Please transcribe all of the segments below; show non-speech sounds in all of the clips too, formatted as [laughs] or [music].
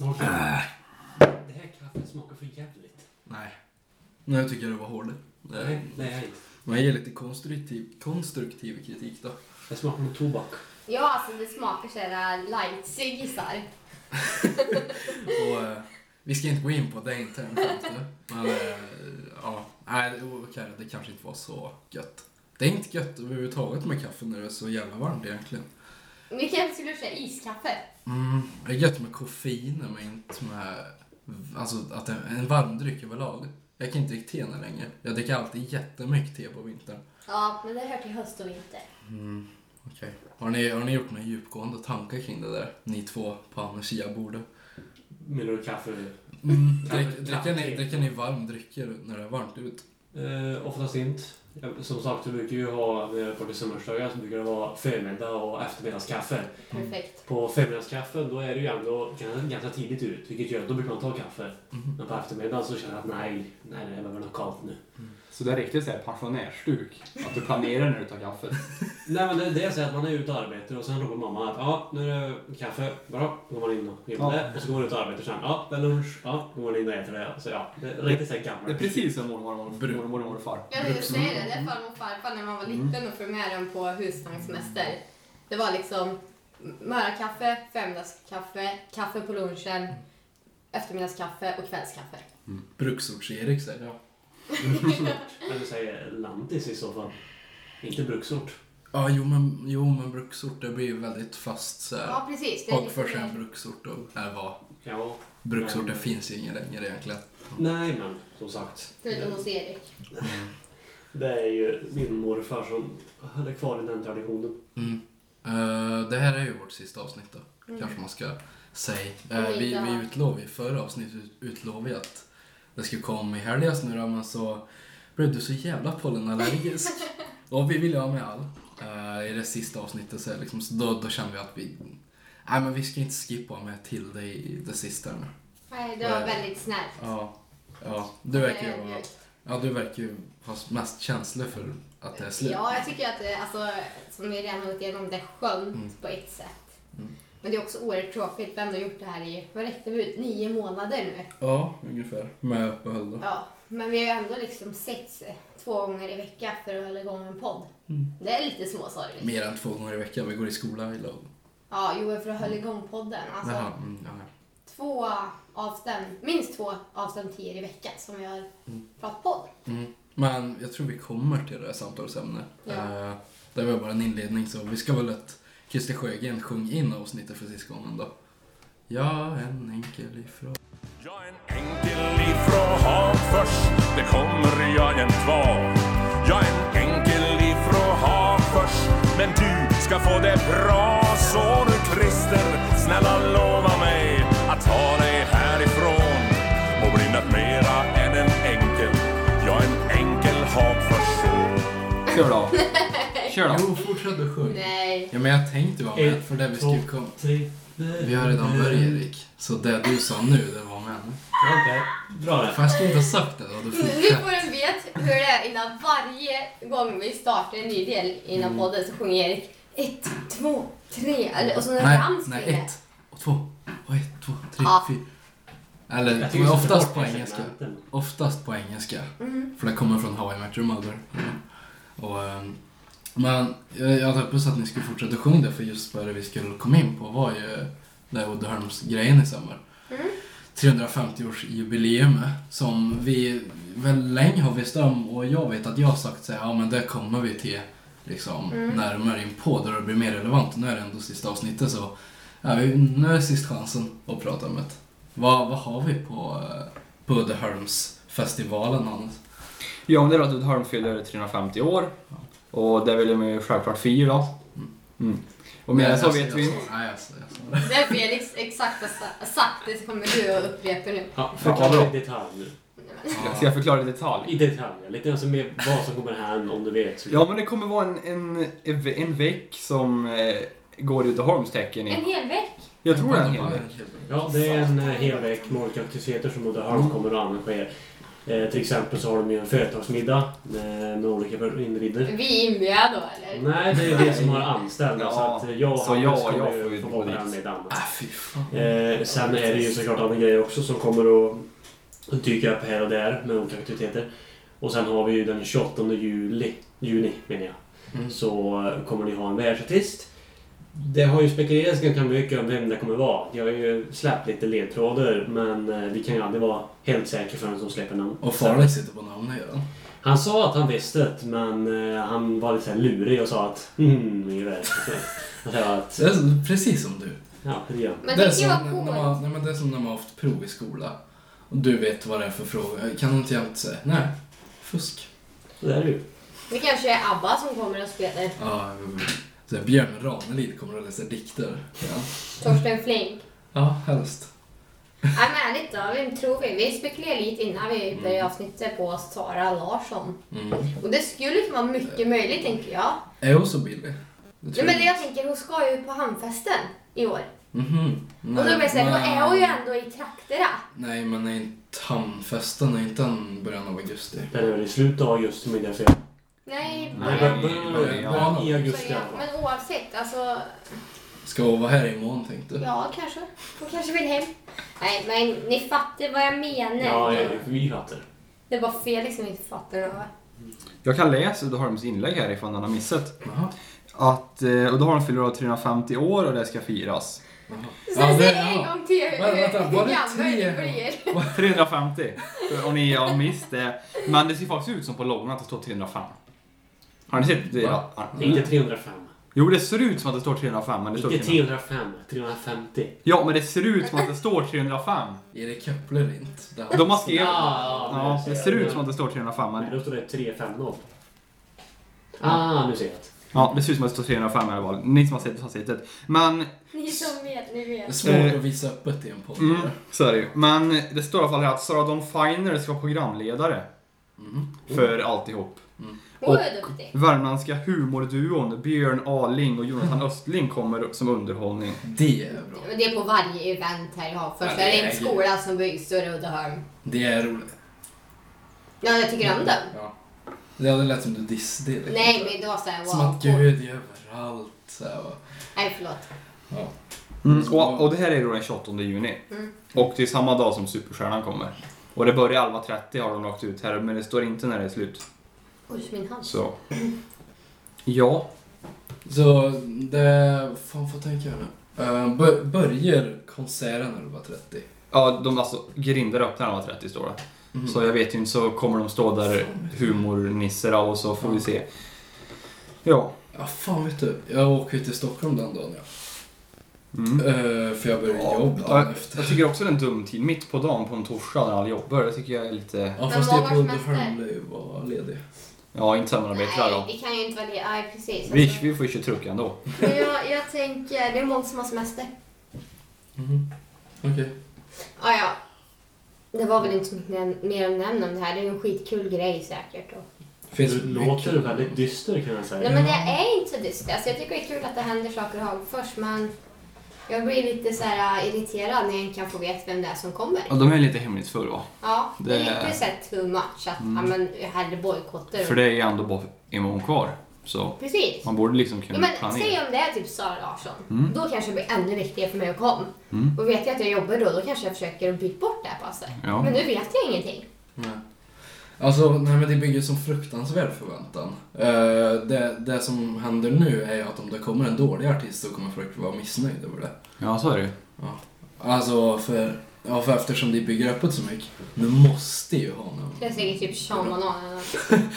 Okej. Äh, Det här kaffet smakar för jävligt. nej. Nej, jag tycker det var hård. Eh, Nej, nej, nej. Man ger lite konstruktiv, konstruktiv kritik då. Det smakar nog tobak. Ja, alltså det smakar äh, såhär lightzigisar. Och, eh, vi ska inte gå in på det internt nu. Men eh, ja, nej, det- okej, det kanske inte var så gött. Det är inte gött överhuvudtaget med kaffe när det är så jävla varmt egentligen. Vi kanske skulle köra iskaffe. Mm, det är gött med koffein men inte med alltså, att en, en varm dryck överlag. Jag kan inte dricka te nu längre. Jag dricker alltid jättemycket te på vintern. Ja, men det hör till höst och vinter. Mm, okej. Har, ni, har ni gjort några djupgående tankar kring det där? Ni två på Amnesia-bordet. Menar du kaffe? Mm, Ja, men [laughs] drick, dricker, ni, te. dricker ni varm drycker när det är varmt ut? Eh, oftast inte. Jag- Som sagt, vi brukar ju ha, när jag är på sommarstuga så brukar det vara förmiddag och eftermiddagskaffe. Perfekt. På förmiddagskaffen då är det ju ändå ganska, ganska tidigt ut, vilket gör att då brukar man ta kaffe. Mhm. Men på eftermiddagen så känner jag att nej, nej, jag behöver något kallt nu. Mm. Så det är riktigt såhär pensionärsstuk. Att du planerar när du tar kaffe. Nej men det, det är så att man är ute och arbetar och sen ropar mamma att ja, nu är det kaffe. Bra, då går man in och ger Ja. det. Och så går man ut och arbetar sen. Ja, det är lunch. Ja, då går man in och äter det. Så ja, det är riktigt så här gammalt. Det är precis som mormor, mormor, Brun. mormor, mormor och far. Jag vill säga det, det är farmor och farfar när man var liten och följde med dem på husvagnsmäster. Det var liksom morgonkaffe, förmiddagskaffe, kaffe på lunchen, eftermiddagskaffe och kvällskaffe. Bruksorts-Erik säger jag. Men du säger lantis i så fall. Inte bruksort. Ja, jo men, jo, men bruksort det blir ju väldigt fast så här. Ja, precis. Det är och lite för sig en mer... bruksort och är vad. Ja. Bruksorten Men- finns ju ingen längre egentligen. Nej men, som sagt. Förutom hos Erik. Det är ju min morfar som höll kvar i den traditionen. Mm. Eh, det här är ju vårt sista avsnitt då. Mm. Kanske man ska säga. Mm, Eh, vi, ja. vi utlovade ju förra avsnittet ut- utlovade vi att det skulle komma i helgas nu då, men så blev du så jävla [laughs] pollenallergisk. och vi ville ha med all. Eh, I det sista avsnittet så, är det liksom, så då, då kände vi att vi Nej men vi ska inte skippa med till dig i det sista nu. Nej, det var väldigt snällt. Eh, Ja, ja. Du verkar ju vara, ja, du verkar ju ha mest känslor för att det är slut. Ja, jag tycker att det, alltså, som vi redan har gått igenom, det är skönt Mm. på ett sätt. Mm. Men det är också oerhört tråkigt. Vi har ändå gjort det här i, vad räckte vi ut, nio månader nu? Ja, ungefär. Med uppehåll då. Ja, men vi har ju ändå liksom sett två gånger i veckan för att hålla igång en podd. Mm. Det är lite småsorgligt. Mer än två gånger i veckan. Vi går i skola i lag. Alltså. Ja, jo, för att hålla igång podden. Alltså, Jaha, mm, ja. ja. två avstäm, minst två avstämningar i veckan som vi har Mm. pratat podd. Mm. Men jag tror vi kommer till det här samtalsämnet. Ja. Eh, det var bara en inledning så vi ska väl att Christer Sjögren sjöng in avsnittet för sista gången då. Ja, en enkel ifrån. Jag är en enkel ifrån Hagfors, det kommer jag än var. Jag är en enkel ifrån Hagfors, men du ska få det bra. Så du Christer, snälla lova mig att ta dig härifrån och bli något mera än en enkel. Jag är en enkel Hagforsson. Kör då. Kör då. Jo, fortsätt att sjunga. Nej. Ja, men jag tänkte vara med för det vi skulle komma. tre, Vi har redan börjat Erik, så det du sa nu, det var med nu. Okej, dra det. Fast jag skulle inte ha sagt det, då hade du Nu fortsatt. får du veta hur det är innan varje gång vi startar en ny del innan Mm. podden så sjunger Erik ett, två, tre eller, och så en Nej, rams nej, kring det. ett och två och ett, två, tre, Ja. fyra. Eller Jag det tycker är vi ska ta oftast bort på den engelska. segmenten. Oftast på engelska. Mm. För det kommer från How I Met Your Mother. Och, ehm, men jag jag hade hoppats att ni skulle fortsätta sjunga det för just vad det vi skulle komma in på var ju det här Uddeholms-grejen i sommar. Mm. 350-årsjubileumet som vi väl länge har visst om och jag vet att jag har sagt så här, ja men det kommer vi till liksom Mm. närmare in på där det blir mer relevant. Nu är det ändå sista avsnittet så ja, vi, nu är det sist chansen att prata om det. Vad, vad har vi på, eh, på Uddeholmsfestivalen annars? Ja, men det är då att Uddeholm fyller 350 år. Och det vill de ju självklart fira. Mm. Och mer än så alltså, vet jag vi sa- inte. Nej, alltså, jag sa det. Det är Felix exakta sa- sagt det så kommer du att upprepa nu. Ja, Ja, förklara bra. i detalj nu. Ska jag förklara i detalj? I detalj, lite alltså med vad som kommer hända om du vet. Så Ja, men det kommer vara en, en, en veck som eh, går i Uddeholms tecken. Mm. En i- hel vecka. Jag tror det är en hel veck. Mm. Ja, det är en eh, hel veck med olika aktiviteter som Uddeholm kommer att arrangera. Eh, till exempel så har de ju en företagsmiddag eh, med, med olika per- individer. Vi är inbjudna då eller? Mm. Nej, det är det som har anställda. Ja, så att eh, jag och så Hannes jag- kommer jag får ju ju få gå vara med dit. med Danmark. Ah, fy fan. Eh, sen är det ju såklart andra grejer också som kommer att dyka upp här och där med olika aktiviteter. Och sen har vi ju den 28 juli, juni menar jag, Mm. så eh, kommer ni ha en världsartist. Det har ju spekulerats ganska mycket om vem det kommer vara. Jag har ju släppt lite ledtrådar men eh, vi kan ju aldrig vara helt säkra förrän de släpper namn. Och Farley sitter på namnet gör han. Han sa att han visste det men eh, han var lite så här lurig och sa att hmm, ungefär. Jag sa att, Det är så- precis som du. ja, det gör han. Men det, det är kan ju som, vara när coolt. man, nej, men det är som när man har haft prov i skola. Och du vet vad det är för fråga. Kan du inte hjälpa säga? Nej. Fusk. Så där är det ju. Det kanske är ABBA som kommer och spelar. Ja, jo, jo. så här, Björn Ranelid kommer att läsa dikter. Ja, Torsten Flink. ja helst. Nej men ärligt då, vem tror vi? Vi spekulerade lite innan vi började avsnittet på Sara Larsson. Mm. Och det skulle kunna vara mycket möjligt tänker jag. Är hon så billig? Nej Typ. men det jag tänker, hon ska ju på hamnfesten i år. Mhm. Nej, och då blir det såhär, då nej. är hon ju ändå i trakterna. Nej, men är inte hamnfesten är inte den början av augusti? Den är väl i slutet av augusti men jag ser. Nej, Nej, början- men- början i augusti i alla början. fall. Men oavsett, alltså. Ska hon vara här imorgon tänkte du? Ja, kanske. Hon kanske vill hem. Nej, men ni fattar vad jag menar. Ja, ja, vi fattar. Det var Felix som liksom, inte fattade det. Jag kan läsa Uddeholms inlägg här ifall någon har missat. Jaha. Att eh, Uddeholm fyller av 350 år och det ska firas. Jaha. Så Ja, det- säg en ja. gång till hur Vänta, vänta, var det gammal tre? du blir. 350! Om ni har missat det. Men det ser faktiskt ut som på loggan att det står 305. Har ni sett det? Va? Ja. Inte 305. Jo, det ser ut som att det står 305, men Mm. det står Inte 305. 305. 350. Ja, men det ser ut som att det står 305. Erik Köppler inte. Det De har skrivit... Ja, Ja, det ser ut som att det står 305, Nej, men... då står det 350. Ah, nu ser jag det. Ja, det ser ut som att det står 305 i alla fall. Ni som har sett det har sett det. Men Ni som vet, ni är vet. svårt att visa öppet i en podd. Eh. Mm, så är det ju. Men det står i alla fall här att Sarah Dawn Finer ska vara programledare Mhm. för alltihop. Hon är duktig. Värmländska humorduon Björn Aling och Jonathan Östling kommer som underhållning. Det är bra. Men det är på varje event här i Hagfors. Ja, det det är är en ju- skola som byggs och Uddeholm. Det är roligt. Ja, jag tycker om den. Ja. Det hade lätt som du dissade det. Nej, men det var såhär Som wow. att Gud är överallt. Så här, va. Nej, förlåt. ja. Mm, och, och det här är då den 28 juni. Och det är samma dag som Superstjärnan kommer. Och det börjar 11.30 har de lagt ut här, men det står inte när det är slut. Oj, min hand. Så. Ja. Så det... Fan, vad tänker jag nu? Eh, bör, börjar konserten när du var 30? Ja, de alltså grindar upp när de var 30 står det. Mhm. Så jag vet ju inte, så kommer de stå där humornisserna och så får vi se. Ja. Ja, fan vet du. Jag åker ju till Stockholm den dagen, ja. Mm. Eh, för jag börjar Ja, jobb ja, dagen efter. Jag tycker också det är en dum tid. Mitt på dagen på en torsdag när alla jobbar. Det tycker jag är lite... Ja, Men fast det är på måndagsmäster. Uddeholm det är ju bara ledig. Ja, inte samarbetare Nej, då. det kan ju inte vara det. Nej, precis. Vi, Alltså, vi får ju köra truck ändå. Men jag, jag tänker, det är många som har semester. Mhm. Okej. Ah, ja. Det var väl inte så mycket näm- mer att nämna om det här. Det är ju en skitkul grej säkert. Och... Finns Du mycket- låter väldigt dyster kan jag Nej, säga. men det är inte så dystert. Alltså, jag tycker det är kul att det händer saker i Hagfors, men jag blir lite så här äh, irriterad när jag inte kan få veta vem det är som kommer. Ja, de är lite hemlighetsfulla va? Ja, det är Det- Mm. lite så här too much att ja, men, jag hade bojkotter. För det är ju ändå bara imorgon kvar. Så Precis. man borde liksom Ja, kunna men, planera. Mm. säg om det är typ Sara Larsson. Då kanske det blir ännu viktigare för mig att komma. Och vet jag att jag jobbar då, då kanske jag försöker byta bort det här passet. Ja. Men nu vet jag ingenting. Nej. Alltså, nej men det bygger som fruktansvärd förväntan. Eh, det, det som händer nu är ju att om det kommer en dålig artist så kommer folk vara missnöjda över det. Ja, så är det ju. Ja. Alltså, för, ja, för eftersom de bygger upp det så mycket. Nu måste ju ha någon. Det är säkert typ Sean Banan eller något.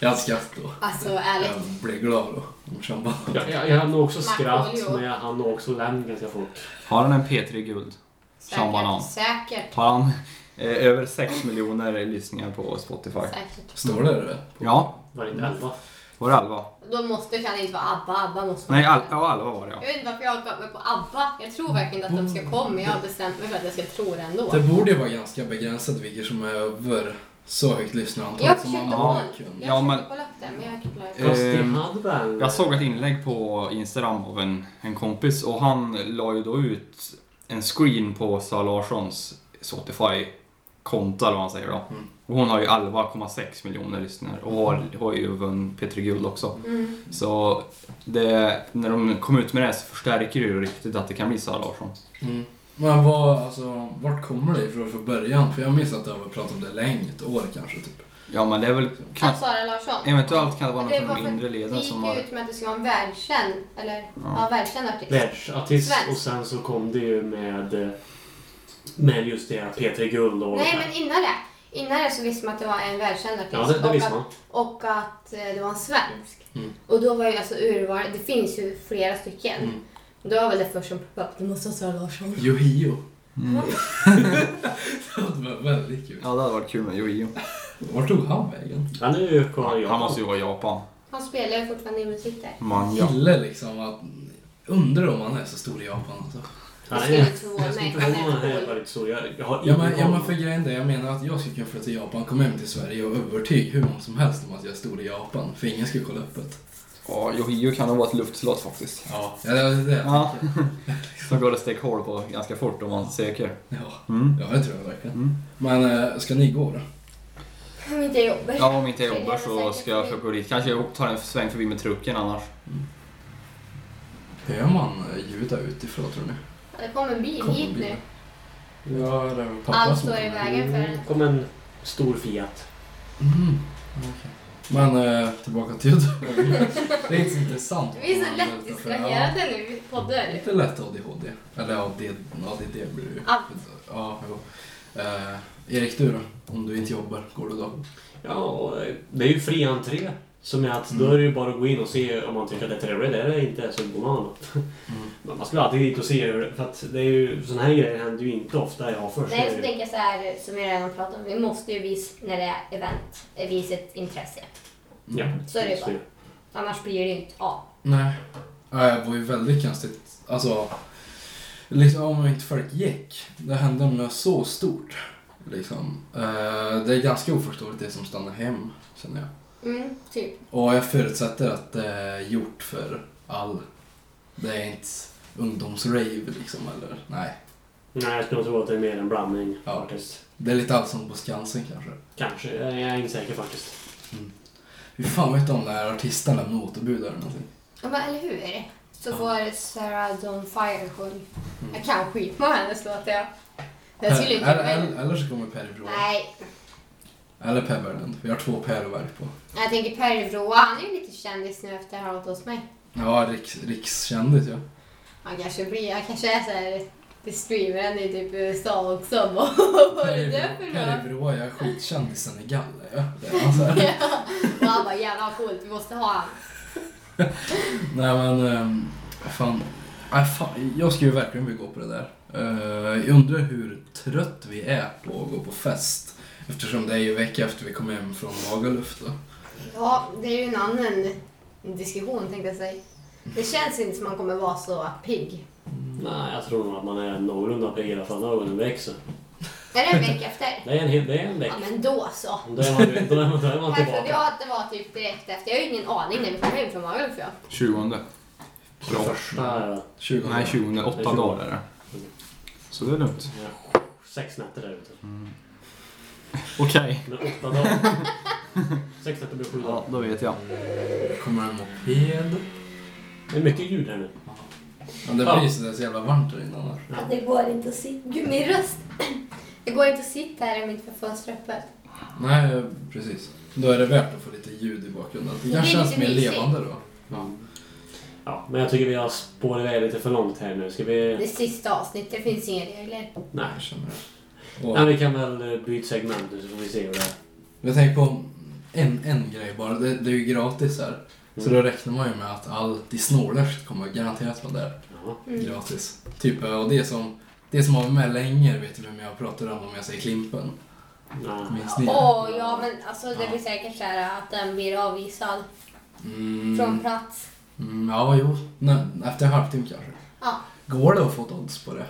Jag skrattar då. Alltså ärligt. Jag blir glad då. Om Sean Banan. Jag, jag, jag hade nog också Marco skratt, Leo. men jag hann nog också lämna ganska fort. Har han en P3 Guld? Sean Banan. Säkert, säkert. Har han eh, över 6 miljoner lyssningar på Spotify? Säkert. Står det det? Ja, Var det inte elva? var det 11? Då måste kan det inte vara ABBA. ABBA måste Nej, vara- al- ja, 11 var det ja. Jag vet inte varför jag gav mig på ABBA. Jag tror verkligen inte att de ska komma, men jag har bestämt mig för att jag ska tro det ändå. Det borde ju vara ganska begränsat vilka som är över så högt lyssnarantal Jag som man försökte har. kolla kunnat. Ja, jag men- försökte kolla upp det, men jag Mm. kollade upp det. Fast det Ehm, hade väl... Jag såg ett inlägg på Instagram av en, en kompis och han la ju då ut en screen på Sara Larssons Spotify-konto eller vad man säger då. Mm. Och hon har ju 11,6 miljoner lyssnare och har, har ju vunnit P3 Guld också. Mm. Så det, när de kom ut med det här så förstärker det ju riktigt att det kan bli Sara Larsson. Mm. Men vad, alltså, vart kommer det ifrån från början? För jag minns att jag har pratat om det länge, ett år kanske typ. Ja, men det är väl Att knappt... Sara Larsson. Eventuellt kan det vara någon Det från var de för- inre Det leden gick som ju har... ut med att det skulle vara en världskänd, eller ja, Ja. världskänd artist. Världsartist Svensk. och sen så kom det ju med eh, med just det här P3 Guld och... Nej, men innan det. Innan det så visste man att det var en världskänd artist. Ja, det, det och, visste att, man. och att eh, det var en svensk. Mm. Och då var ju alltså urvalet, det finns ju flera stycken. Mm. Då var väl det först som poppade upp, det måste vara Sara Larsson. Yohio. [laughs] det var väldigt kul. Ja, det hade varit kul med Yohio. Vart tog han vägen? Han är ju kvar i Han Japan. måste ju vara i Japan. Han spelar ju fortfarande i musik där. Manga. Gillar liksom att... Undrar om han är så stor i Japan alltså. Han Jag är- skulle inte förvåna Jag skulle mig. inte Han är förvåna mig om han cool. är väldigt stor. Jag, jag har Ja ingen men, ja, men aning. för grejen är, jag menar att jag skulle kunna flytta till Japan, komma hem till Sverige och övertyga hur många som helst om att jag stod i Japan. För ingen skulle kolla upp det. Ja, Yohio kan nog vara ett luftslott faktiskt. Ja, det är det jag Ja. tänker. Som går att steka hål på ganska fort om man söker. Ja. Mm. ja, det tror jag verkligen. Mm. Men eh, ska ni gå då? Om inte jag jobbar. Ja, om inte jag jobbar så ska jag försöka gå dit. Kanske jag tar en sväng förbi med trucken annars. Hör man eh, ljudet där utifrån tror ni? Det kom en bil Kom en hit bil. nu. Ja, det är pappa Allt som står i kommer. vägen för den. Mm, kom en stor Fiat. Mhm. Okej. Men eh, tillbaka till Mm. det. [laughs] Det är inte så intressant. [laughs] Vi är så Man lätt letar för- ja. distraherade nu i Det är poddar. Lite lätt ADHD. Eller ADD, ADD blir det ju. Allt. Ja, jo. Eh, Erik, du då? Om du inte jobbar, går du då? Ja, och, eh, det är ju fri entré. Som är att då är det ju bara att gå in och se om man tycker att det är trevligt. Är det inte så går man. Men [laughs] man skulle alltid dit och se hur det- För att det är ju, såna här grejer händer ju inte ofta i Hagfors. Det Nej, är så ju- tänker jag så här som vi redan har pratat om. Vi måste ju visa när det är event, eh, visa ett intresse. Ja, Så är det ju just det. Annars blir det ju inte av. Nej. Nej, det var ju väldigt konstigt. Alltså, liksom om inte folk gick. Det hände med så stort. Liksom. Eh, det är ganska oförståeligt det som stannar hem, känner jag. Mm, typ. Och jag förutsätter att det är gjort för all. Det är inte ungdomsrave liksom, eller? Nej. Nej, jag skulle nog tro att det är mer en blandning Ja. faktiskt. Det är lite Allsång på Skansen kanske. Kanske. Jag jag är inte säker faktiskt. Hur fan vet de om när artisten lämnar återbud eller någonting? Ja, men eller hur? Så Ja. får Sarah Dawn Fire sjung. Mm. Jag kan skitmånga av hennes låtar. jag. Jag skulle inte... eller, eller, eller så kommer Per Vrå. Nej, Eller Per Berglund. Vi har två Per-verk på. jag tänker Per Vrå. Han är ju lite kändis nu efter att ha varit hos mig. Ja, riks, rikskändis ja. Han kanske blir, han kanske är såhär, det streamar han i typ USA också. [laughs] Vad var det där för Per något? Vrå är skitkänd i Senegal. Ja. Det är han så [laughs] här. Och han bara, jävlar vad coolt, vi måste ha han. Nej men, ehm, fan. Nej, fan. Jag skulle ju verkligen vilja gå på det där. Eh, jag undrar hur trött vi är på att gå på fest. Eftersom det är ju vecka efter vi kom hem från Magaluf då. Ja, det är ju en annan diskussion tänkte jag säga. Det känns inte som att man kommer vara så pigg. Nej, jag tror nog att man är någorlunda pigg i alla fall när ögonen växer. Är det en vecka efter? Det är en, hel- det är en Ja vecka. men då så. Då är man, ju- då är man, då är man Här trodde tillbaka. jag att det var typ direkt efter. Jag har ju ingen aning när vi kom hem från Magaluf. Ja. 20. Bra. Första 20 Nej, 20. Det är 8 20. dagar är det. Så det är lugnt. ja, sex nätter där ute. Okej. Men åtta dagar. Sex nätter blir sju Ja, dagar. då vet jag. Kommer en moped. Det är mycket ljud här nu. Men det blir ju sådär så jävla varmt där inne annars. Det går inte att sitta... Gud, min röst! [clears throat] Det går inte att sitta här om inte får fönstret öppet. Nej, precis. Då är det värt att få lite ljud i bakgrunden. Det Det kanske blir känns lite mer mysigt. levande då. Ja, men jag tycker vi har spårat iväg lite för långt här nu. Ska Det Mm. vi... sista avsnittet det finns inga regler. Nej. Jag känner det. Nej, Och vi kan väl eh, byta segment nu så får vi se hur det är. jag tänker på en, en grej bara. Det, det är ju gratis här. Så då räknar man ju med att allt i snålerst kommer garanterat vara där. Ja. Mm. Gratis. Typ, och det som, det som har varit med länge vet du vem jag pratar om om jag säger Klimpen. Nej. Minns ni? Åh, ja men alltså det Ja. blir säkert så här att den blir avvisad från Mm, plats. mm, ja, jo. Nej, efter en halvtimme kanske. Ja, Går det att få ett odds på det?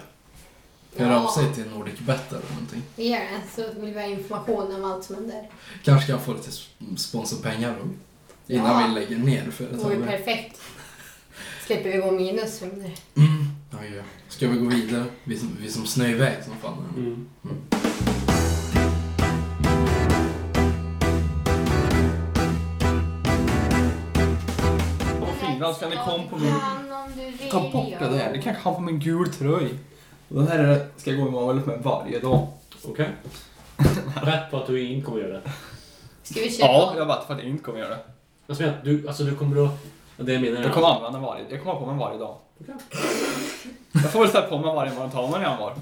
Hör Ja. av sig till Nordic Bet eller någonting. vi gör det så vill vi ha information om allt som händer. Kanske kan jag få lite sp- sponsorpengar då. Innan Ja. vi lägger ner Det vore ju företaget. perfekt. Slipper vi gå minus från det. Mm. Ja, ja. Ska vi gå vidare? Vi som, vi som snöar iväg som fan. Mm. kom på min... Kan om du vill. Ta bort det där. Det kanske han på min gul tröj. Och Den här ska jag gå i mål med varje dag. [laughs] Okej. Rätt på att du inte kommer göra det. Ska vi köra? Ja, jag vet för att jag inte kommer göra det. Alltså, jag- du, alltså du kommer att... Det jag menar är Jag kommer använda varje... Jag kommer ha på mig varje dag. Okej. Jag får väl sätta på mig varje morgon och ta mig när jag var.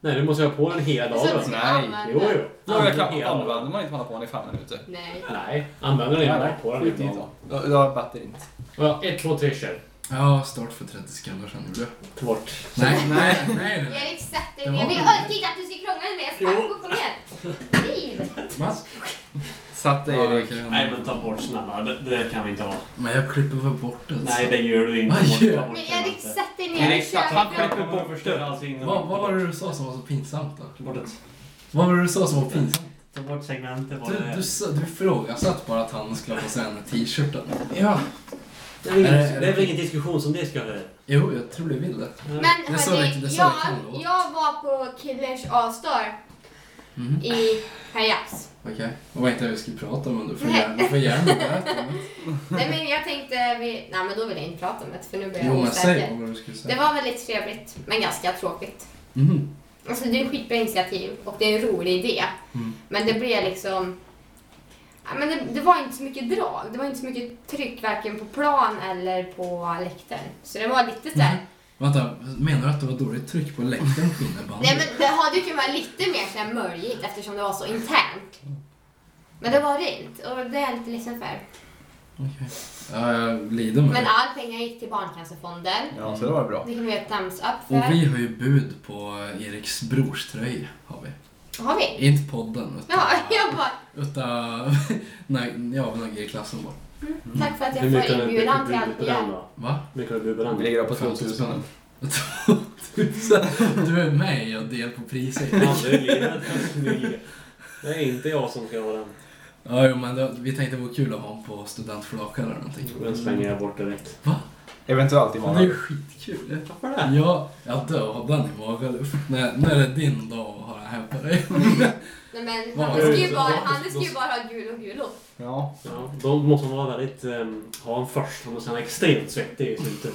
Nej, du måste ha på den hela Det är så att dagen. du ska Nej. använda- Jo, jo. Jo, jag kan, hela dagen. använder man inte man har på den i fem minuter. Nej. Nej, använder den enbart på den skit i hela det. dagen. Jag- Jag bättre inte. Ja, Ett, två, tre, kör. Ja, start för 30 sekunder sedan gjorde jag. Ta bort. Nej, nej, nej. nej. Erik, sätt dig Det ner. var- Jag orkar inte att du ska krångla med mig. Snabbt, Jo. upp och ner. Nej. Mats? Satt dig Ja, Erik. okej. Nej, men ta bort snälla. Det, det kan vi inte ha. Men jag klipper väl bort det. Nej, det gör du inte. Vad gör Ta bort Men den Erik, inte. sätt dig ner. Erik, Kör. satt han klipper kommer att bort förstöra det. allting. Vad, vad var det du sa som var så pinsamt då? Ta bort det. Vad var det du sa som var pinsamt? Ta bort segmentet. vad det Du, är. du, sa- du ifrågasatt bara att han skulle ha på sig den här t-shirten. Ja. Det är väl ingen- Eh, det är väl ingen diskussion som det ska vara. Jo, jag tror du vill det. Men Det sa hörni, vi- det sa jag, vi kan då. jag var på Killers A-star Mhm. i Paris. Okej. Jag vet inte vad vi skulle prata om, men du får gärna, du får gärna berätta. Nej men jag tänkte, vi... nej men då vill jag inte prata om [laughs] det för nu blir jag Jo, men säg vad osäker. var det du skulle Det säga. var väldigt trevligt, men ganska tråkigt. Mhm. Alltså det är ett skitbra initiativ och det är en rolig idé. Mm. Men det blev liksom... Ja, men det, det var inte så mycket drag. Det var inte så mycket tryck varken på plan eller på läktaren. Så det var lite sådär... Mm. Vänta, menar du att det var dåligt tryck på läktaren på innebandy? Nej men det hade ju kunnat vara lite mer sådär mörjigt eftersom det var så internt. Men det var rent och det är jag lite ledsen för. Okej. Ja, jag lider med Men det. all pengar gick till Barncancerfonden. Ja, så det var bra. Det kan vi ge ett thumbs up Och för. vi har ju bud på eh, Eriks brors tröja, har vi. Har vi? Inte podden, utan... Ja, [laughs] jag bara, Utan... [laughs] Nej, ja, några i klassen bara. Mm. tack för att Hur jag mycket får har du inbjudan till burit allt på vi den gör. då? Va? Hur mycket har du burit på den? Vi ligger upp på 2000 nu. [laughs] 2000. Du är med i och del på priset. Ja, det är livet. Det är inte jag som ska ha den. Ja, jo, men det, vi tänkte det vore kul att ha honom på studentflakan eller någonting. Den slänger jag bort direkt. Va? Eventuellt Det är ju imorgon. skitkul. Varför Ja, jag dödade den i magen. När, när är din dag att ha den här på dig? [laughs] Nej men Vad han var ska det? ju bara, Vad- han ska ju bara ha gul och gul och. Ja. Ja, då måste man vara väldigt... ehm, ha en först. Man måste vara extremt svettig i slutet.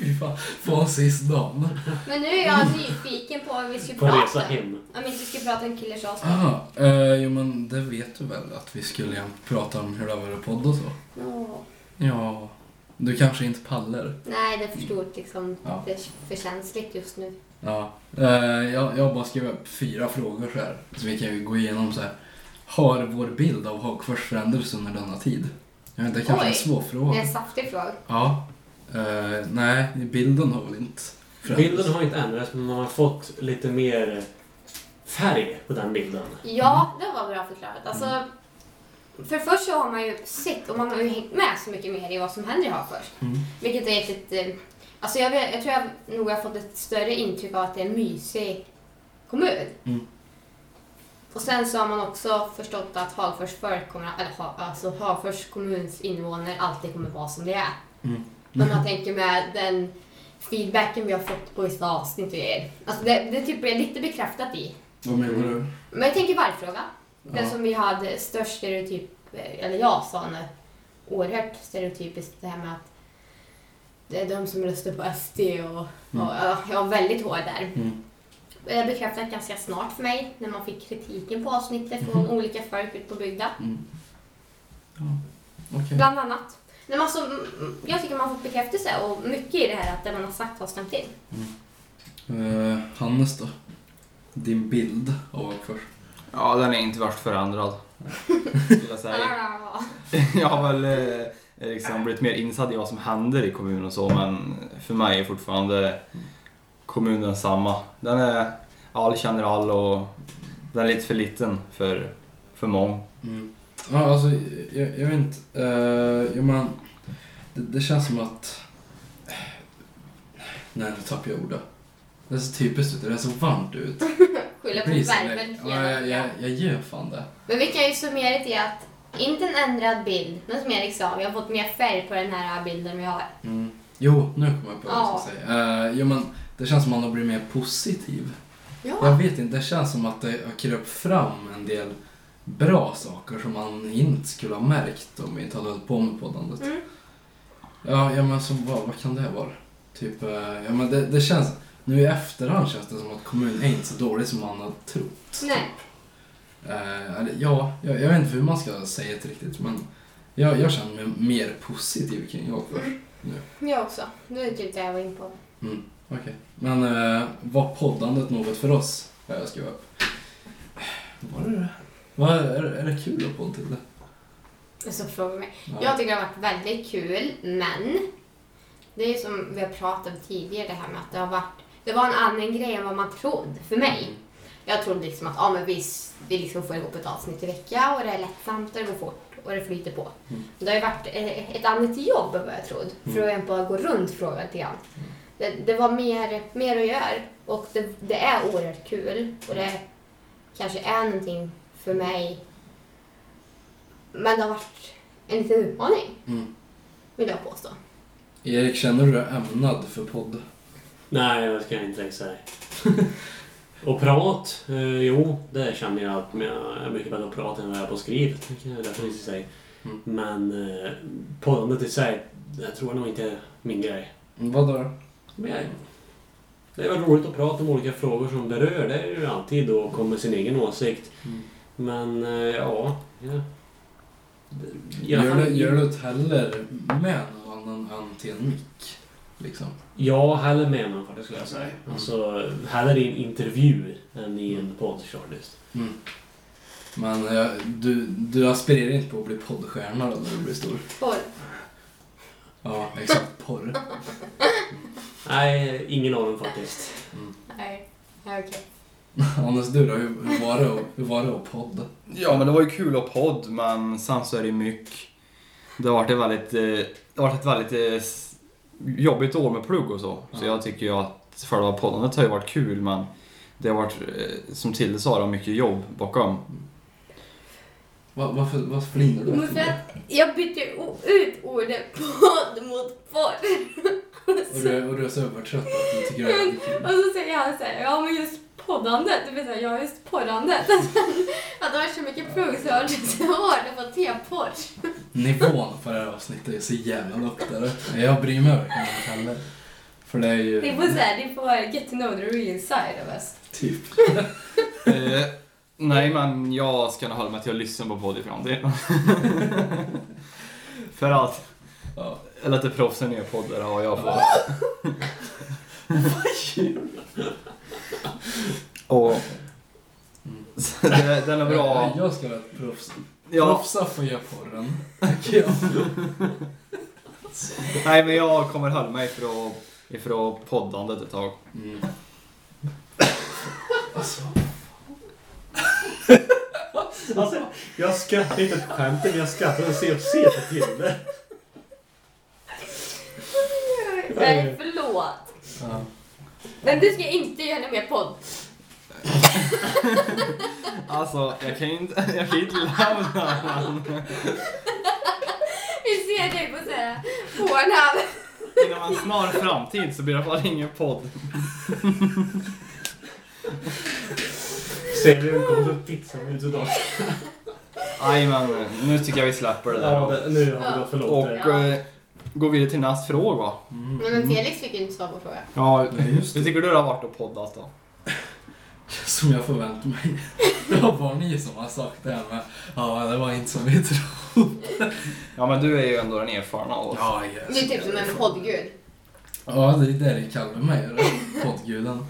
Fy fan, från sist dagen. Men nu är jag nyfiken på vad vi ska På en resa prata om. hem. Om inte vi ska prata om Killers Oscar. Aha, eh, jo men det vet du väl att vi skulle ju prata om hur det var i podd och så? Åh, Ja, du kanske inte pallar. Nej, det förstod liksom. Ja. Det är för känsligt just nu. Ja, eh, jag, jag har bara skrivit upp fyra frågor så här. Så vi kan ju gå igenom så här. Har vår bild av Hagfors förändrats under denna tid? Jag vet inte, det kanske är en Oj. svår Det är fråga. en saftig fråga. Ja. Eh, nej, bilden har väl inte förändrats. Bilden har inte ändrats, men man har fått lite mer färg på den bilden. Mm. Ja, det var bra förklarat. Alltså, För först så har man ju sett och man har ju hängt med så mycket mer i vad som händer i Hagfors. Mm. Vilket är ett... ett eh, alltså jag, vet- jag tror jag nog har fått ett större intryck av att det är en mysig kommun. Mm. Och sen så har man också förstått att Hagfors, folk kommer, eller, Ha- alltså Hagfors kommuns invånare alltid kommer vara som det är. Mm. Men man tänker med den feedbacken vi har fått på vissa avsnitt och grejer. Alltså det, det typ är lite bekräftat i. Vad menar du? Men jag tänker vargfråga. Den Ja. som vi hade störst stereotyp, eh, eller jag sa nu, oerhört stereotypiskt det här med att det är de som röstar på SD och, och ja, jag var väldigt hård där. Mm. Det bekräftades ganska snart för mig när man fick kritiken på avsnittet från olika folk ute på bygden. Mm. Ja, okej. Bland annat. När man så, mm, jag tycker man har fått bekräftelse och mycket i det här att det man har sagt har stämt in. Eh, Hannes då? Din bild av Hagfors? Ja, den är inte värst förändrad. [laughs] Skulle jag säga. Ah, [laughs] Jag har väl eh, liksom blivit mer insatt i vad som händer i kommunen och så, men för mig är fortfarande kommunen samma. Den är all känner all och den är lite för liten för, för många. Mm. Ja, alltså, jag, jag vet inte. Eh, jo, men, det, det känns som att... Nej, nu tappar jag ordet. Det är så typiskt ute. Det är så varmt ute. Skylla på Precis, värmen. nej. ja, jag, jag, jag gör fan det. Men vi kan ju summera det till att inte en ändrad bild, men som Erik sa, vi har fått mer färg på den här bilden vi har. Mm. Jo, nu kommer jag på vad jag Ja. ska säga. Eh, jo, men, det känns som att man har blivit mer positiv. Jag Ja. vet inte, det känns som att det har kröp fram en del bra saker som man inte skulle ha märkt om vi inte hade hållit på med poddandet. Mm. Ja, ja men alltså vad, vad kan det vara? Typ, eh, ja men det, det känns, nu i efterhand känns det som att kommunen är inte så dålig som man har trott. typ. Nej. Eh, eller, ja, jag, jag vet inte hur man ska säga det riktigt men jag, jag känner mig mer positiv kring Jakobs. Jag också. Det är typ det jag var inne på. Okej. Men eh, var poddandet något för oss? Har jag skrivit upp. Var det det? Vad- är, är det kul att podda till det? Så frågar mig. Ja. Jag tycker det har varit väldigt kul, men det är ju som vi har pratat om tidigare det här med att det har varit, det var en annan grej än vad man trodde för mig. Jag trodde liksom att ah, men vi, s- vi liksom får ihop ett avsnitt i veckan och det är lättsamt och det går fort och det flyter på. Det har ju varit eh, ett annat jobb än vad jag trodde, för att bara gå runt frågan lite grann. Det, det var mer, mer att göra och det, det är oerhört kul och det kanske är någonting för mig. Men det har varit en liten utmaning, Mm. vill jag påstå. Erik, känner du dig ämnad för podd? Nej, det ska jag inte direkt säga. [laughs] och prat, eh, jo, det känner jag att jag är mycket bättre på att prata än vad jag är på skrivet. Det kan jag definitivt säga. Mm. Men eh, poddandet i sig, jag tror nog inte är min grej. Mm, Vad då? Men jag, det är väl roligt att prata om olika frågor som berör. Det är ju alltid då att komma med sin egen åsikt. Mm. Men eh, ja... ja. I alla Gör fall- du, gör du det heller med någon annan än till en mick? Liksom. Mm. Ja, hellre med någon faktiskt skulle jag säga. Alltså, hellre i en intervju än i en podd shortlist. Mm. Men eh, du, du aspirerar inte på att bli poddstjärna då när du blir stor? Porr. Ja, exakt. Porr. Nej, ingen av dem faktiskt. Nej. Nej, okej. Anders, du då? Hur hur var det att, hur var det att podda? Ja, men det var ju kul att podd, men sen så är det ju mycket... Det har varit ett väldigt, eh, det har varit ett väldigt eh, s- jobbigt år med plugg och så. Så Ja. jag tycker ju att själva poddandet har ju varit kul, men det har varit, eh, som Tilde sa, det har mycket jobb bakom. Va, varför, varför flinar du? Men efter för det? att jag bytte o- ut ordet [laughs] podd mot porr. Och du, är- och du är så övertrött att du tycker att det är kul. Och så säger han så här, ja men just poddandet, du vet så här, ja just porrandet. [laughs] Att det var så mycket plugg så jag så hårt på teporr. Nivån på det här avsnittet är så jävla lågt. eller? Jag bryr mig verkligen inte heller. För det är ju... Ni får såhär, ni får get to know the real side of [laughs] us. Typ. Eh, nej, men jag ska nog hålla mig till att lyssna på podd i framtiden. [laughs] För att Ja. eller att det är proffsen i poddar har jag fått. och... Så det- Den är bra. Jag ska vara ett proffs. Ja, Proffsa får göra porren. tycker jag. nej, men jag kommer hålla mig ifrån, ifrån poddandet ett tag. Mm. Alltså, Alltså, jag skrattar inte åt skämtet, men jag skrattar och ser, ser på Tilde. Nej, förlåt. ja. Men du ska inte göra mer podd. Alltså, jag kan ju inte, jag kan ju inte lämna honom Vi ser dig på såhär, Pornhub. Inom en snar framtid så blir det i alla fall ingen podd. Ser vi hur kommer upp pizzan ut idag? Nej, men nu tycker jag vi släpper det Ja, där. det- nu har vi gått för långt. Och där. eh, går vidare till nästa fråga. va? Nej men Felix fick ju inte svar på frågan. Ja, Nej, just hur tycker du det har varit att podda alltså? då? Som jag förväntade mig. Det var bara ni som har sagt det här med ja, det var inte som vi trodde. Ja men du är ju ändå den erfarna av oss. Ja, yes. Du är typ som en poddgud. Ja, det är det ni kallar mig, eller? poddguden.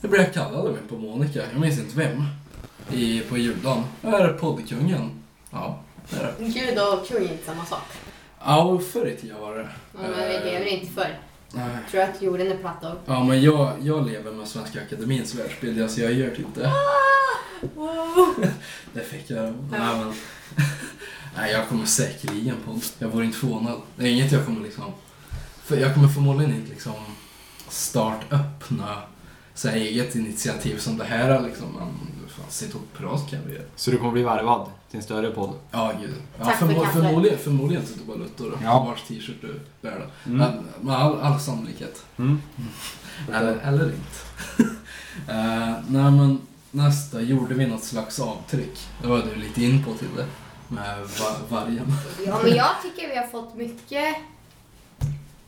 Det blev jag kallad av en på Monica, jag minns inte vem, i, på juldagen. Jag är poddkungen. Ja, det är det. Gud och kung är inte samma sak. Ja, förr i tiden var det. Eh, Ja, men vi lever inte förr. Nej. Tror att jorden är platt av. Ja, men jag, jag lever med Svenska Akademiens världsbild, alltså jag gör typ det. Wow. Det fick jag. Nej, men... [laughs] Nej, jag kommer säkerligen på Jag vore inte förvånad. Det är inget jag kommer liksom... För jag kommer förmodligen inte liksom startöppna så här eget initiativ som det här är, liksom. Men fan, sitt och prat kan vi göra. Så du kommer bli värvad till en större podd? Ja, gud. Ja, Tack för förmo- kaffet. förmodligen, förmodligen sitter bara Luttor och Ja. vars t-shirt du bär då. Mm. Men med all, all sannolikhet. Mm. Eller, eller inte. [laughs] Eh, nej men nästa gjorde vi något slags avtryck. Det var du lite in på till det. Med va- vargen. [laughs] Ja, men jag tycker vi har fått mycket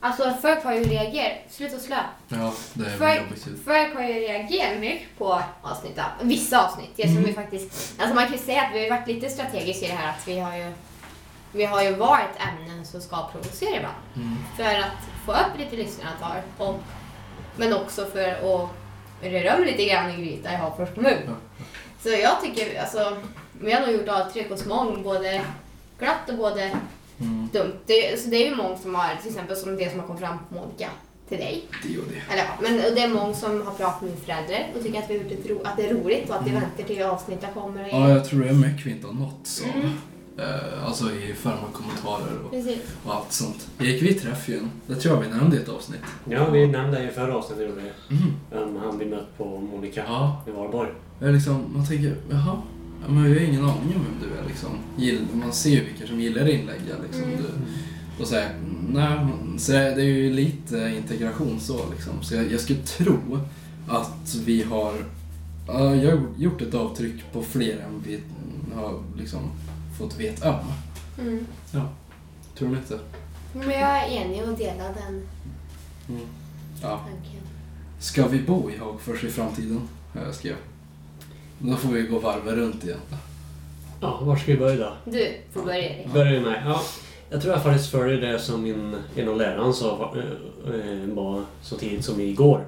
Alltså folk har ju reagerat. Sluta slö. Ja, det är Folk, jobbigt. folk har ju reagerat mycket på avsnitt, vissa avsnitt. Det som vi faktiskt, alltså man kan ju säga att vi har ju varit lite strategiska i det här att vi har ju, vi har ju varit ämnen som ska provocera ibland. Mm. För att få upp lite lyssnartal och men också för att röra om lite grann i grytan i Hagfors kommun. Ja. Så jag tycker, alltså, vi har nog gjort avtryck hos många, både glatt och både Mm. dumt. Det, så det är ju många som har, till exempel som det som har kommit fram på Monica till dig. Det och det. Eller ja, men och det är många som har pratat med föräldrar och tycker att, vi har gjort ett ro, att det är roligt och att vi väntar till avsnittet kommer. Och Mm. Ja, jag tror det är mycket vi inte har nått så. Eh, alltså i form av kommentarer och, Precis. och allt sånt. Gick vi träff igen? Det tror jag vi nämnde i ett avsnitt. Ja, vi nämnde det i förra avsnittet. gjorde vi. Mm. Vem han vi mött på Monica Ja. i Valborg. Jag är liksom, man tänker, jaha, ja, men jag har ingen aning om vem du är liksom. Gill, man ser ju vilka som gillar inläggen liksom. Du, och så här, nej, så det det är ju lite integration så liksom. Så jag, jag skulle tro att vi har, ja, jag har gjort ett avtryck på fler än vi har liksom fått veta om. Mm. Ja. Tror du inte? Men jag är enig och delar den Ja. tanken. Ska vi bo i Hagfors i framtiden? Har jag skrev. Då får vi gå varvet runt igen. Ja, var ska vi börja då? Du får börja Erik. Börjar vi med. Ja, jag tror jag faktiskt följer det som min, en av lärarna sa va- eh, var så tidigt som igår.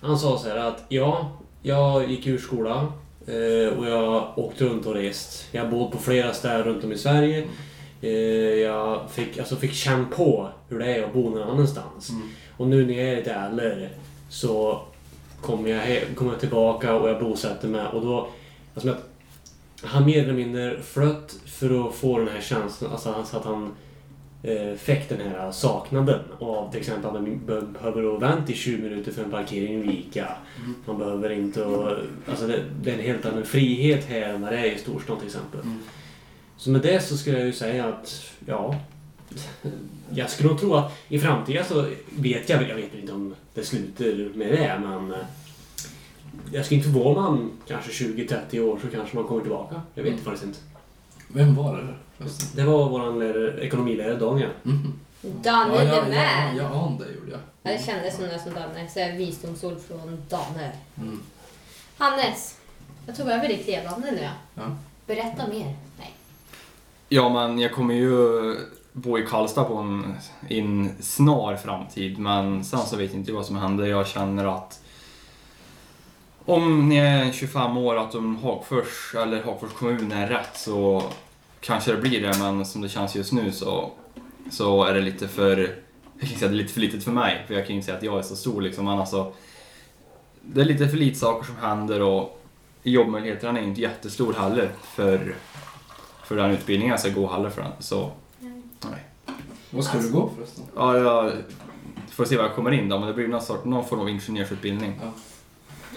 Han sa så här att ja, jag gick ur skolan eh, och jag åkte runt och rest. Jag bodde på flera ställen runt om i Sverige. Eh, Jag fick, alltså fick känna på hur det är att bo någon annanstans. Och nu när jag är lite äldre så kommer jag, he- kommer jag tillbaka och jag bosätter mig och då... Alltså, jag- han mer eller mindre flött för att få den här känslan, alltså han- så att han eh, fick den här saknaden av till exempel att man be- behöver att vänta i 20 minuter för en parkering i Ica. Man behöver inte att, alltså det, det är en helt annan frihet här än vad det är i storstan till exempel. Så med det så skulle jag ju säga att, ja. Jag skulle nog tro att i framtiden så vet jag, jag vet inte om det slutar med det men eh, jag skulle inte förvåna om kanske 20-30 år så kanske man kommer tillbaka. Jag vet faktiskt inte. Vem var det? förresten? Det var vår lärare, ekonomilärare Daniel. Mhm. Daniel ja, är ja, med! Ja, ja, det gjorde jag. Ja, det kändes som det som Danne. Så här visdomsord från Danne. Mm. Hannes, jag tog över ditt ledande nu. Ja. Berätta mer. Nej. Ja, men jag kommer ju bo i Karlstad på en, i en snar framtid, men sen så vet jag inte vad som händer. Jag känner att om ni är 25 år, att om Hagfors eller Hagfors kommun är rätt så kanske det blir det, men som det känns just nu så, så är det lite för, jag kan inte säga det är lite för litet för mig, för jag kan ju inte säga att jag är så stor liksom, men alltså det är lite för lite saker som händer och jobbmöjligheterna är inte jättestor heller för för den utbildningen jag ska gå heller för den. Så Mm. Vad ska du gå förresten? ja, jag får se vad jag kommer in då, men det blir någon, sort, någon form av ingenjörsutbildning.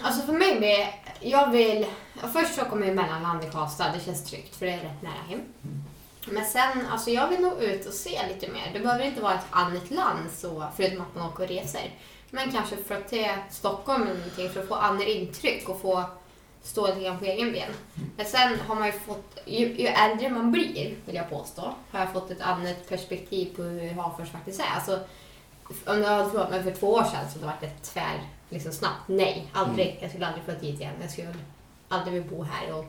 Alltså för mig blir jag vill... Först så kommer jag mellanland i Karlstad, det känns tryggt för det är rätt nära hem. Mm. Men sen, alltså jag vill nog ut och se lite mer. Det behöver inte vara ett annat land så, förutom att man åker och reser. Men kanske för att till Stockholm eller någonting för att få andra intryck och få stå lite grann på egen ben. Men sen har man ju fått, ju, ju äldre man blir, vill jag påstå, har jag fått ett annat perspektiv på hur Hagfors faktiskt är. Alltså, om du hade frågat mig för två år sedan så hade det varit ett tvär, liksom snabbt nej. Aldrig. Jag skulle aldrig flytta hit igen. Jag skulle aldrig vilja bo här och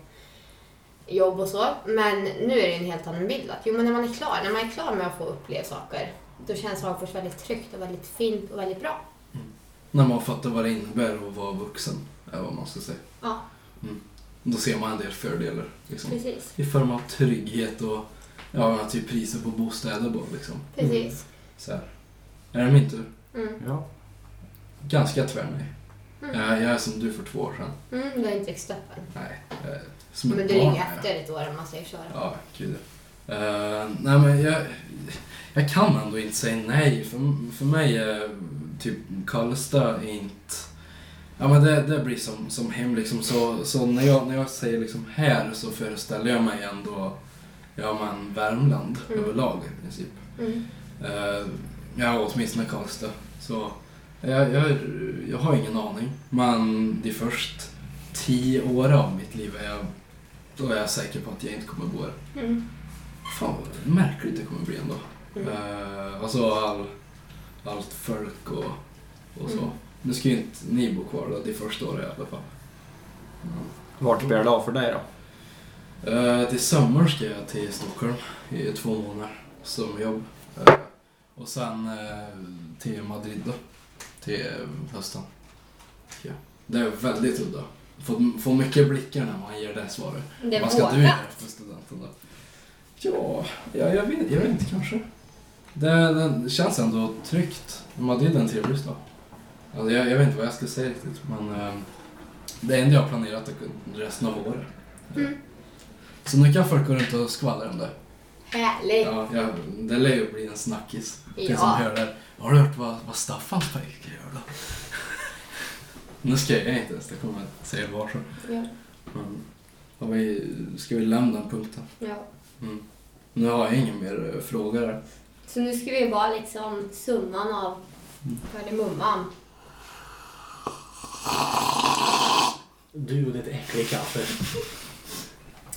jobb och så. Men nu är det en helt annan bild. Att, jo, men när man är klar, när man är klar med att få uppleva saker, då känns Hagfors väldigt tryggt och väldigt fint och väldigt bra. När man fattar vad det innebär att vara vuxen, är vad man ska säga. Mm. Ja, Då ser man en del fördelar. Liksom. precis. I form av trygghet och ja, men typ priser på bostäder. Bara, liksom. Precis. så här. Är det min tur? Mm. Ja. Ganska tvär nej. Mm. Jag, jag är som du för två år sedan. Mm, du har inte växt upp än. Nej, jag är som ett Men du barn ligger är jag. efter ett år om man säger så. Ja, gud ja. Eh, nej men jag, jag kan ändå inte säga nej. För, för mig är typ Karlstad är inte... Ja men det, det blir som, som hem liksom. Så, så när, jag, när jag säger liksom här så föreställer jag mig ändå ja, men Värmland Mm. överlag i princip. Mm. Eh, ja, åtminstone Karlstad. Så jag, jag, jag har ingen aning. Men de först tio åren av mitt liv är jag, då är jag säker på att jag inte kommer gå här. Mm. Fan vad märkligt det kommer bli ändå. Mm. alltså Eh, all, allt folk och, och så. Nu ska ju inte ni bo kvar då, det första året i alla fall. Vart blir det av för dig då? Eh, till sommar ska jag till Stockholm i två månader som jobb. Eh, och sen eh, till Madrid då, till eh, hösten. Ja. Det är väldigt udda. Får, får mycket blickar när man ger det svaret. Det Vad ska vågar. du göra efter studenten då? Ja, ja jag, vet, jag vet inte kanske. Det, det känns ändå tryggt. Madrid är en trevlig stad. Alltså, jag, jag vet inte vad jag ska säga riktigt men eh, det enda jag har planerat är resten av året. Mm. Så nu kan folk gå runt och skvallra om det. Härligt. Ja, jag, det lär ju bli en snackis. Det Ja. som hör det. Har du hört vad, vad Staffans pojke gör då? [laughs] nu ska jag inte ens, det kommer jag säga var så. Ja. Men, har vi, ska vi lämna den punkten? Ja. Nu har jag ingen mer eh, fråga där. Så nu ska vi vara liksom summan av Mm. kardemumman. Du och ditt äckliga kaffe.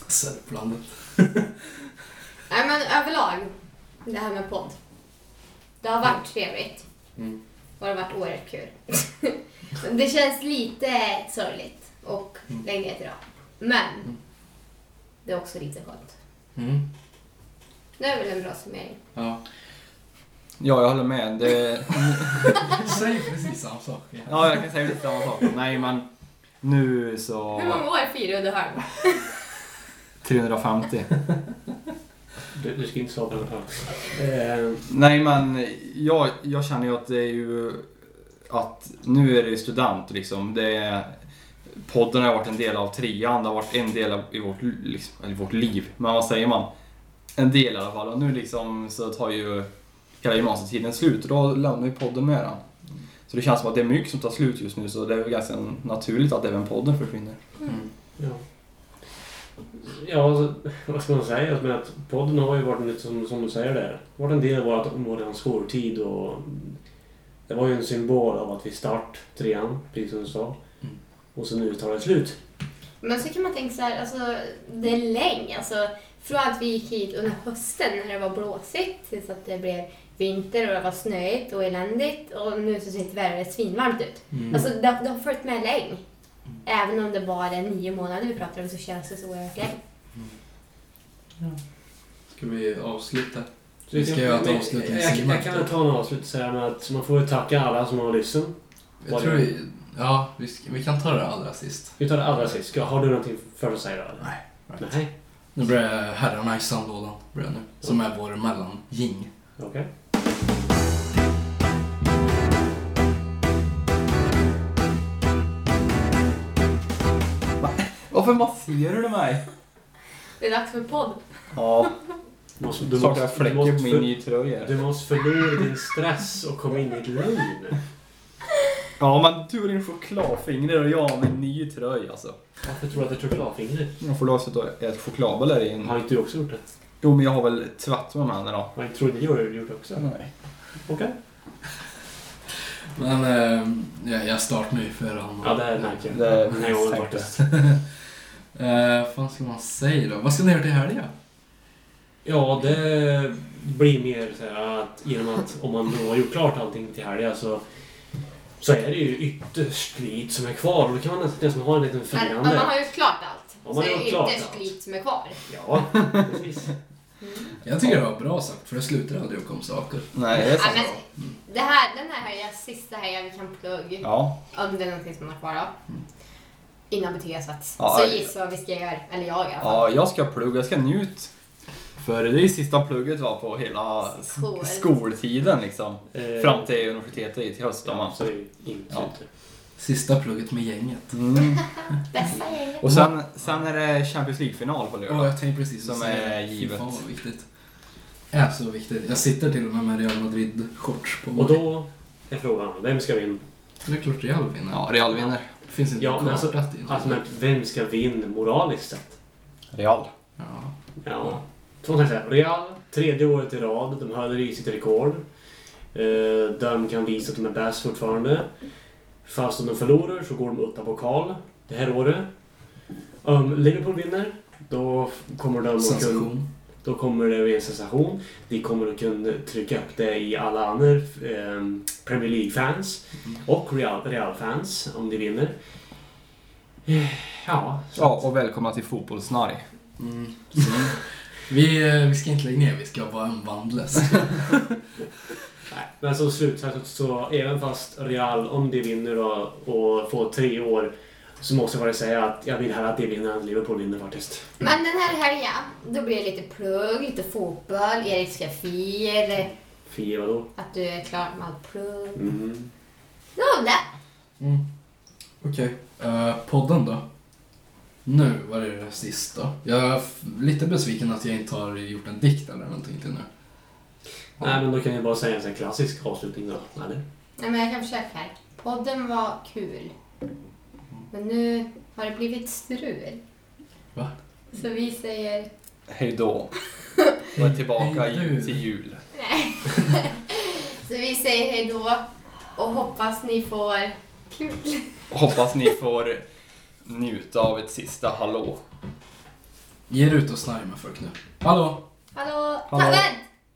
Sörplandet. Nej men överlag, det här med podd. Det har varit trevligt. Mm. Och det har varit oerhört kul. [laughs] det känns lite sorgligt och Mm. länge till idag. Men det är också lite skönt. Mm. Det är väl en bra summering. Ja. Ja, jag håller med. Det... [laughs] Säg precis samma sak. igen. Ja, jag kan säga lite samma sak. Nej, men nu så... Hur många år firar du här? 350. Du, du ska inte svara på den här. Eh, Nej, men jag, jag känner ju att det är ju att nu är det ju student liksom. Det är, podden har varit en del av trean, det har varit en del av, i vårt, liksom, eller vårt liv. Men vad säger man? En del i alla fall. Och nu liksom så tar ju hela gymnasietiden slut och då lämnar ju podden med den. Så det känns som att det är mycket som tar slut just nu så det är väl ganska naturligt att även podden försvinner. Mm. Ja. Ja, alltså, vad ska man säga? Jag menar att podden har ju varit lite som, som du säger där. Varit en del av vårt vår skoltid och det var ju en symbol av att vi start trean, precis som du sa. Mm. Och så nu tar det slut. Men så kan man tänka så här, alltså, det är länge. Alltså, från att vi gick hit under hösten när det var blåsigt tills att det blev vinter och det var snöigt och eländigt och nu så sitter världen svinvarmt ut. Mm. Alltså det, det har följt med länge. Även om det bara är nio månader vi pratar om så känns det så oerhört länge. Ska vi avsluta? Så Vi ska göra ett men- avslutningsinlägg. jag, jag kan väl ta en avslutning med att man får ju tacka alla som har lyssnat. Jag tror vi, ja, vi, ska, vi kan ta det allra sist. Vi tar det allra sist. Ska, har du någonting för att säga då? eller? Nej. Nej. Nu börjar herrarna i sandlådan, börjar nu. Som är vår mellanjing. Okej. Varför masserar du mig? Det är dags för podd. Ja, Du måste, du du måste, måste, jag du, fläcker på min måste, ny tröja. du måste förlora din stress och komma in i ett lugn. Ja, men du och din chokladfingrar och jag med en ny tröja alltså. Varför tror du att det är chokladfingret? Jag får låtsas att jag är ett chokladbollar i en... Har inte du också gjort det? Jo, men jag har väl tvätt med mig då. Jag tror ni har gjort det också. Nej. Okej. Men eh, jag, jag startar nu för honom. Ja, det här märker jag. Det är Nej, jag har säkert. faktiskt. [laughs] Eh, vad ska man säga då? Vad ska ni göra till helgen? Ja, det blir mer så här att genom att om man då har gjort klart allting till helgen så så är det ju ytterst lite som är kvar och då kan man nästan nästan ha en liten Men, om man firande. har gjort klart allt. Om man så har är gjort det klart ytterst allt. lite som är kvar. Ja, precis. Jag tycker det var bra sagt, för det slutar aldrig att komma saker. Nej, det är Ja, sant. men, det här, den här helgen, sista helgen vi kan plugga. Ja. Om det är någonting som man har kvar då. Innan betygsvets. Mm. Ja, så ja. gissa vad vi ska göra. Eller jag i alla fall. ja, jag ska plugga. Jag ska njut. För det är ju sista plugget va, på hela Skol. skoltiden liksom. Eh, Fram till universitetet i till höst. Ja, Ja. så är det ju inte Ja. ute. Sista plugget med gänget. [laughs] Mm. Bästa gänget. Och sen, sen är det Champions League-final på Ja, lördag. jag tänkte precis Som säga är det. Fy givet. Fan vad viktigt. Är så viktigt. Jag sitter till och med med Real Madrid-shorts på mig. Och då är frågan, vem ska vinna? Det är klart Real vinner. Ja, Real vinner. Det finns inte Ja, men alltså, karträtt i alltså men vem ska vinna moraliskt sett? Real. Ja. Ja. Två kan jag säga. Real, tredje året i rad. De höll i sitt rekord. Eh, De kan visa att de är bäst fortfarande. Fast om de förlorar så går de utan pokal det här året. Om Liverpool vinner, då kommer de att kunna... Sensation. Då kommer det bli en sensation. Ni kommer att kunna trycka upp det i alla andra eh, Premier League-fans och Real- Real-fans om ni vinner. Eh, Ja, så Ja, och välkomna till Fotbollsnarr. Mm. Så, vi, eh, vi ska inte lägga ner, vi ska bara [laughs] omvandlas. Nej, men som slutsats så även fast Real, om de vinner och, och får tre år så måste jag bara säga att jag vill hellre att de vinner än att Liverpool vinner faktiskt. Men den här helgen, då blir det lite plugg, lite fotboll, Erik ska fira Fie vadå? att du är klar med allt plugg. Mm. Nå, det. Mm. Okej. Eh, podden då? Nu var det det sista. Jag är f- lite besviken att jag inte har gjort en dikt eller någonting till nu. Nej, men då kan jag bara säga en sån här klassisk avslutning då, eller? Nej, men jag kan försöka här. Podden var kul. Men nu har det blivit strul. Va? Så vi säger... [laughs] Hej [laughs] då. Och är tillbaka Hej då. ju- till jul. Så vi säger hej då och hoppas ni får kul. Hoppas ni får njuta av ett sista hallå. Ge er ut och snarra med folk nu. Hallå! Hallå! Hallå. Tack,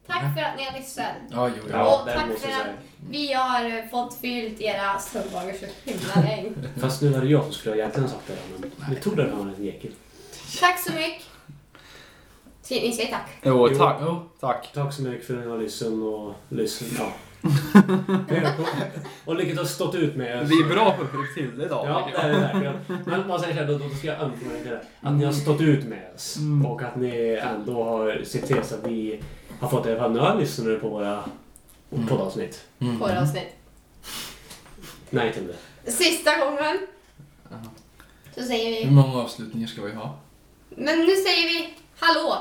tack för att ni har lyssnat. Ja, jo, jo. Ja, Och det tack måste för jag säga. att vi har eh, fått fyllt era söndagar så himla länge. [laughs] Fast nu var det jag som skulle ha egentligen sagt det, men vi tog den här liten ekel. Tack så mycket. Säg- Ni säger tack. Jo, Jo. tack. Jo. Tack. Tack så mycket för att ni har lyssnat och lyssnat. [laughs] Ja. och lyckats ha stått ut med. Vi är bra på Fryxilde idag. Ja, det tycker jag. är det verkligen. Men man säger såhär, då, då ska jag önska mig det. Att ni har stått ut med oss. Mm. Och att ni ändå har sett till så att vi har fått i alla fall några lyssnare på våra Mm. poddavsnitt. Mm. Kåravsnitt. Nej till det. Sista gången. Aha. Så säger Hur Mm. vi... många avslutningar ska vi ha? Men nu säger vi hallå.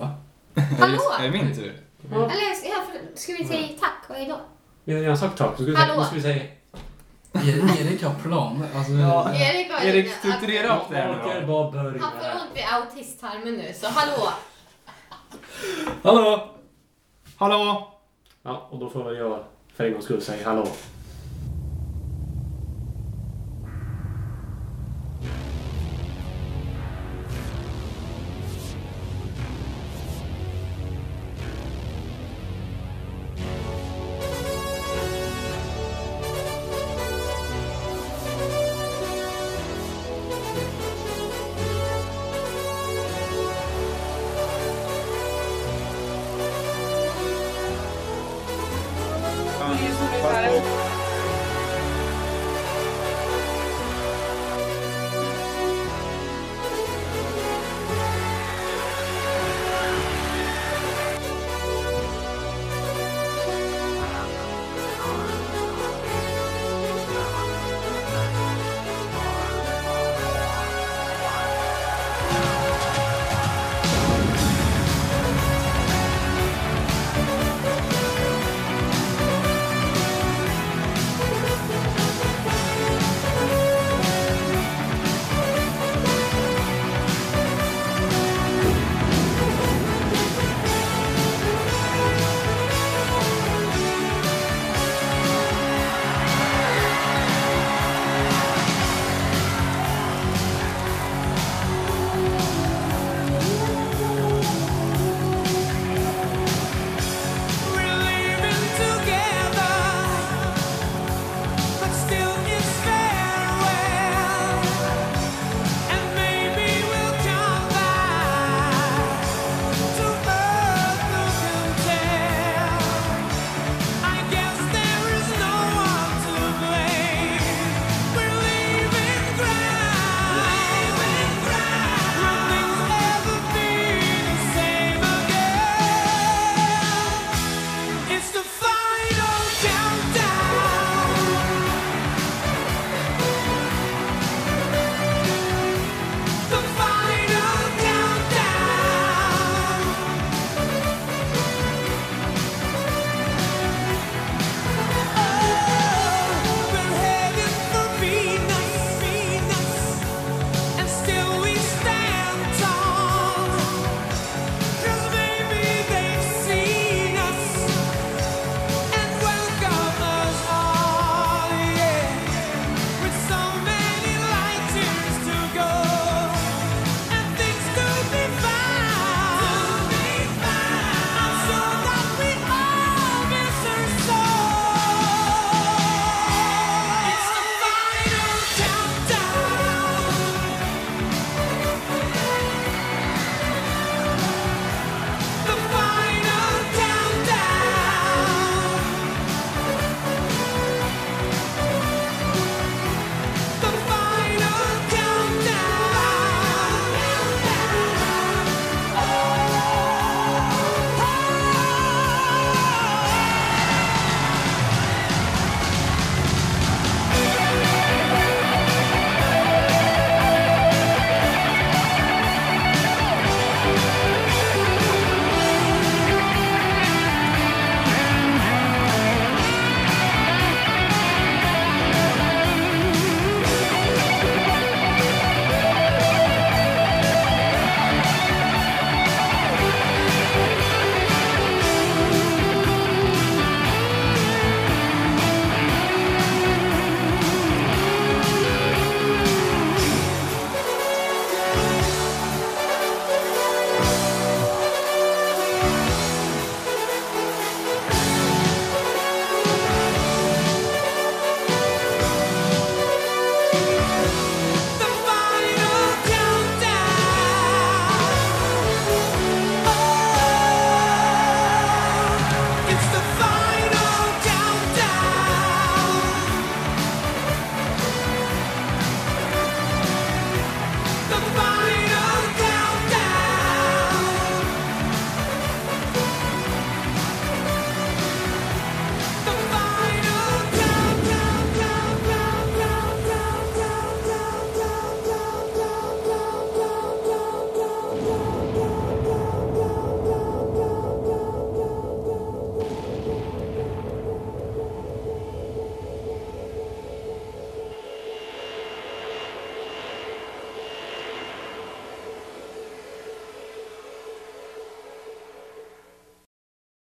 Va? Är Hallå! det- Är det min tur? Eller ska, ja, för- ska vi säga tack och hejdå? Vi har redan sagt tack. så Ska vi säga, Hallå. nu ska vi säga E- Erik har planer. Alltså, Ja. Erik, har- Erik, strukturera upp det här Orkar nu då. bara börja. Han får ont i autisttarmen nu, så hallå. Hallå! Hallå! Ja, och då får väl jag för en gångs skull säga hallå.